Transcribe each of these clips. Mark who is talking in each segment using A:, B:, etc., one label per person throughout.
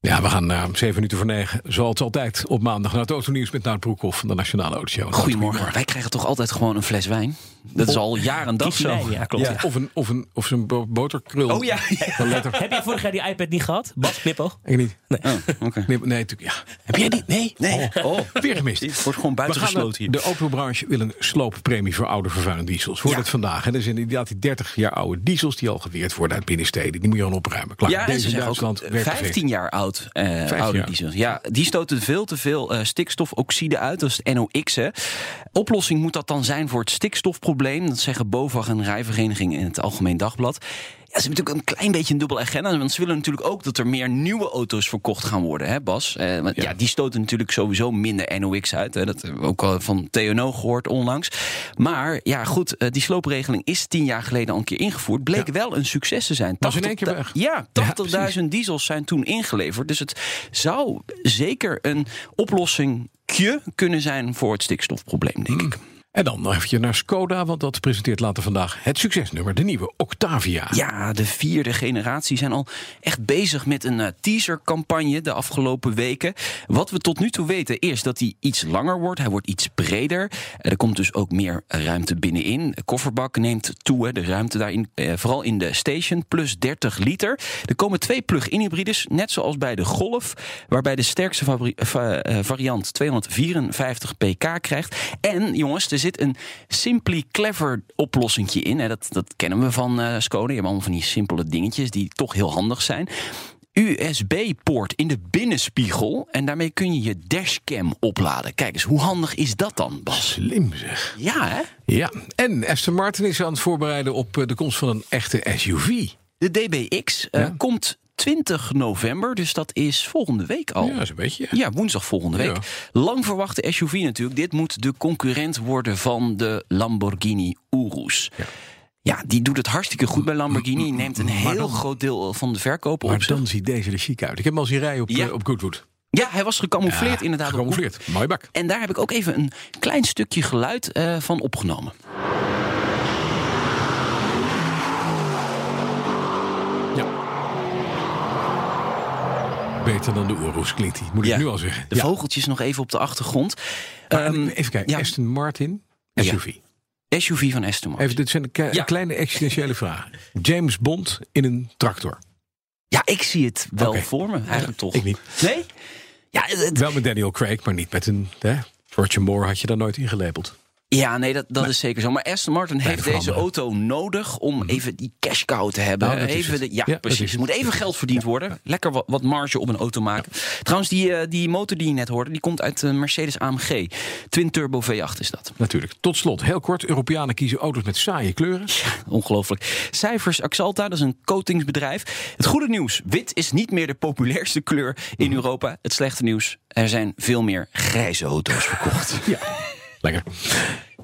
A: Ja, we gaan na zeven minuten voor negen, zoals altijd, op maandag naar het autonieuws met Naart Broekhoff van de Nationale Auto
B: Goedemorgen. Oh, Wij krijgen toch altijd gewoon een fles wijn? Dat is al jaren dag zo.
C: Nee, ja, klopt. Ja.
A: Of, een, of, een, of zo'n bo- boterkrul.
B: Oh ja.
A: Een letter.
C: Heb jij vorig jaar die iPad niet gehad? Bas Knippo?
A: Ik niet. Nee,
B: Oh, oké.
A: nee, natuurlijk. Ja.
B: Heb jij die? Nee. nee. Oh.
A: Weer gemist.
B: Dit wordt gewoon
A: We gaan
B: buitengesloten
A: naar-
B: hier.
A: de autobranche wil een slooppremie voor oude vervuilende diesels. Wordt
B: Ja.
A: het vandaag. En er zijn inderdaad die 30 jaar oude diesels die al geweerd worden uit binnensteden. Die moet je al opruimen. Klaar.
B: Ja, en
A: Deze
B: ze
A: in
B: zeggen ook
A: Duitsland
B: eh,
A: werkt perfect.
B: 15 jaar oud, eh oude
A: jaar.
B: diesels. Ja, die stoten veel te veel eh, stikstofoxide uit, dat is het NOx. Hè. Oplossing moet dat dan zijn voor het stikstofprobleem. Dat zeggen BOVAG en Rijvereniging in het Algemeen Dagblad. Ja, ze hebben natuurlijk een klein beetje een dubbele agenda. Want ze willen natuurlijk ook dat er meer nieuwe auto's verkocht gaan worden, hè Bas? Eh, want ja. die stoten natuurlijk sowieso minder NOx uit. Hè. Dat hebben we ook al van TNO gehoord onlangs. Maar ja, goed, eh, die sloopregeling is tien jaar geleden al een keer ingevoerd. Bleek wel een succes te zijn.
A: Was in één keer
B: 80
A: weg.
B: Ja,
A: Ja,
B: 80.000 diesels zijn toen ingeleverd. Dus het zou zeker een oplossing kunnen zijn voor het stikstofprobleem, denk ik.
A: En dan nog even naar Skoda, want dat presenteert later vandaag het succesnummer, de nieuwe Octavia.
B: Ja, de vierde generatie zijn al echt bezig met een eh, teasercampagne de afgelopen weken. Wat we tot nu toe weten is dat hij iets langer wordt. Hij wordt iets breder. Eh, Er komt dus ook meer eh, ruimte binnenin. De kofferbak neemt toe, hè, de ruimte daarin. eh, Vooral in de station, plus 30 liter. Er komen twee plug-in hybrides, net zoals bij de Golf. Waarbij de sterkste fabri- va- eh, variant 254 pk krijgt. En jongens, er zit een Simply Clever oplossingje in. Hè. Dat, dat kennen we van eh Skoda. Je hebt allemaal van die simpele dingetjes die toch heel handig zijn. USB-poort in de binnenspiegel. En daarmee kun je je dashcam opladen. Kijk eens, hoe handig is dat dan, Bas?
A: Slim zeg.
B: Ja, hè?
A: Ja, en Aston Martin is aan het voorbereiden op eh, de komst van een echte SUV.
B: De DBX eh,
A: Ja.
B: komt 20 november, dus dat is volgende week al.
A: Ja, dat is een beetje.
B: Oh. Ja, woensdag volgende week.
A: Ja.
B: Lang verwachte SUV natuurlijk. Dit moet de concurrent worden van de Lamborghini Urus. Ja. die doet het hartstikke goed bij Lamborghini. Neemt een heel
A: dan-
B: groot deel van de verkopen op
A: Maar
B: zich.
A: dan ziet deze er chic uit. Ik heb hem al zien rijden op,
B: Ja.
A: eh, op Goodwood.
B: Ja, hij was gecamoufleerd
A: Ja,
B: inderdaad. op Google.
A: Gecamoufleerd. Mooi bak.
B: En daar heb ik ook even een klein stukje geluid eh, van opgenomen.
A: Ja. Beter dan de Urus klinkt hij, moet
B: Ja.
A: ik nu al zeggen.
B: De
A: Ja.
B: vogeltjes nog even op de achtergrond.
A: Maar
B: Ehm,
A: even kijken,
B: ja.
A: Aston Martin,
B: Ja.
A: SUV.
B: SUV van Aston Martin.
A: Even, dit zijn ke-
B: Ja.
A: kleine existentiële vragen. James Bond in een tractor.
B: Ja, ik zie het wel
A: Oké.
B: voor me eigenlijk toch.
A: Ik niet.
B: Nee? Ja, het,
A: Wel met Daniel Craig, maar niet met een... Hè? Roger Moore had je daar nooit ingelabeld.
B: Ja, nee, dat, dat is zeker zo. Maar Aston Martin heeft
A: veranderen.
B: deze auto nodig om even die cash cow te hebben.
A: Nou, dat is
B: even
A: het.
B: de, ja,
A: Ja, dat is
B: precies.
A: het.
B: Er moet even geld verdiend worden. Lekker wat, wat marge op een auto maken. Trouwens, die, eh, die motor die je net hoorde, die komt uit de Mercedes AMG. Twin Turbo V8 is dat.
A: Natuurlijk. Tot slot, heel kort. Europeanen kiezen auto's met saaie kleuren.
B: Ongelooflijk. Cijfers Axalta, dat is een coatingsbedrijf. Het goede nieuws, wit is niet meer de populairste kleur
A: Mhm.
B: in Europa. Het slechte nieuws, er zijn veel meer grijze auto's verkocht.
A: Ja. Lekker.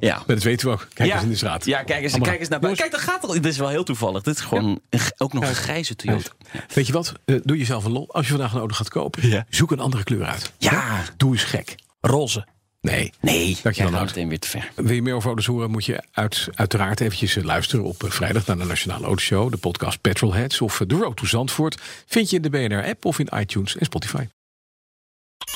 B: Ja.
A: Maar dat weten we ook. Kijk
B: ja.
A: eens in de straat.
B: Ja, kijk eens,
A: Allemaal.
B: kijk eens naar buiten. Kijk, dat gaat al. Dit is wel heel toevallig. Dit is gewoon een g- ook nog een grijze Toyota.
A: Weet je wat? Eh, doe jezelf een lol. Als je vandaag een auto gaat kopen,
B: Ja.
A: zoek een andere kleur uit.
B: Ja.
A: Doe eens gek.
C: Roze.
A: Nee.
B: Nee,
A: Dank je
B: jij
A: wel,
B: gaat
A: Nout.
B: meteen weer te ver.
A: Wil je meer over auto's horen, moet je uit, uiteraard eventjes eh, luisteren op eh, vrijdag naar de Nationale Autoshow, de podcast Petrolheads of eh, The Road to Zandvoort. Vind je in de BNR-app of in iTunes en Spotify.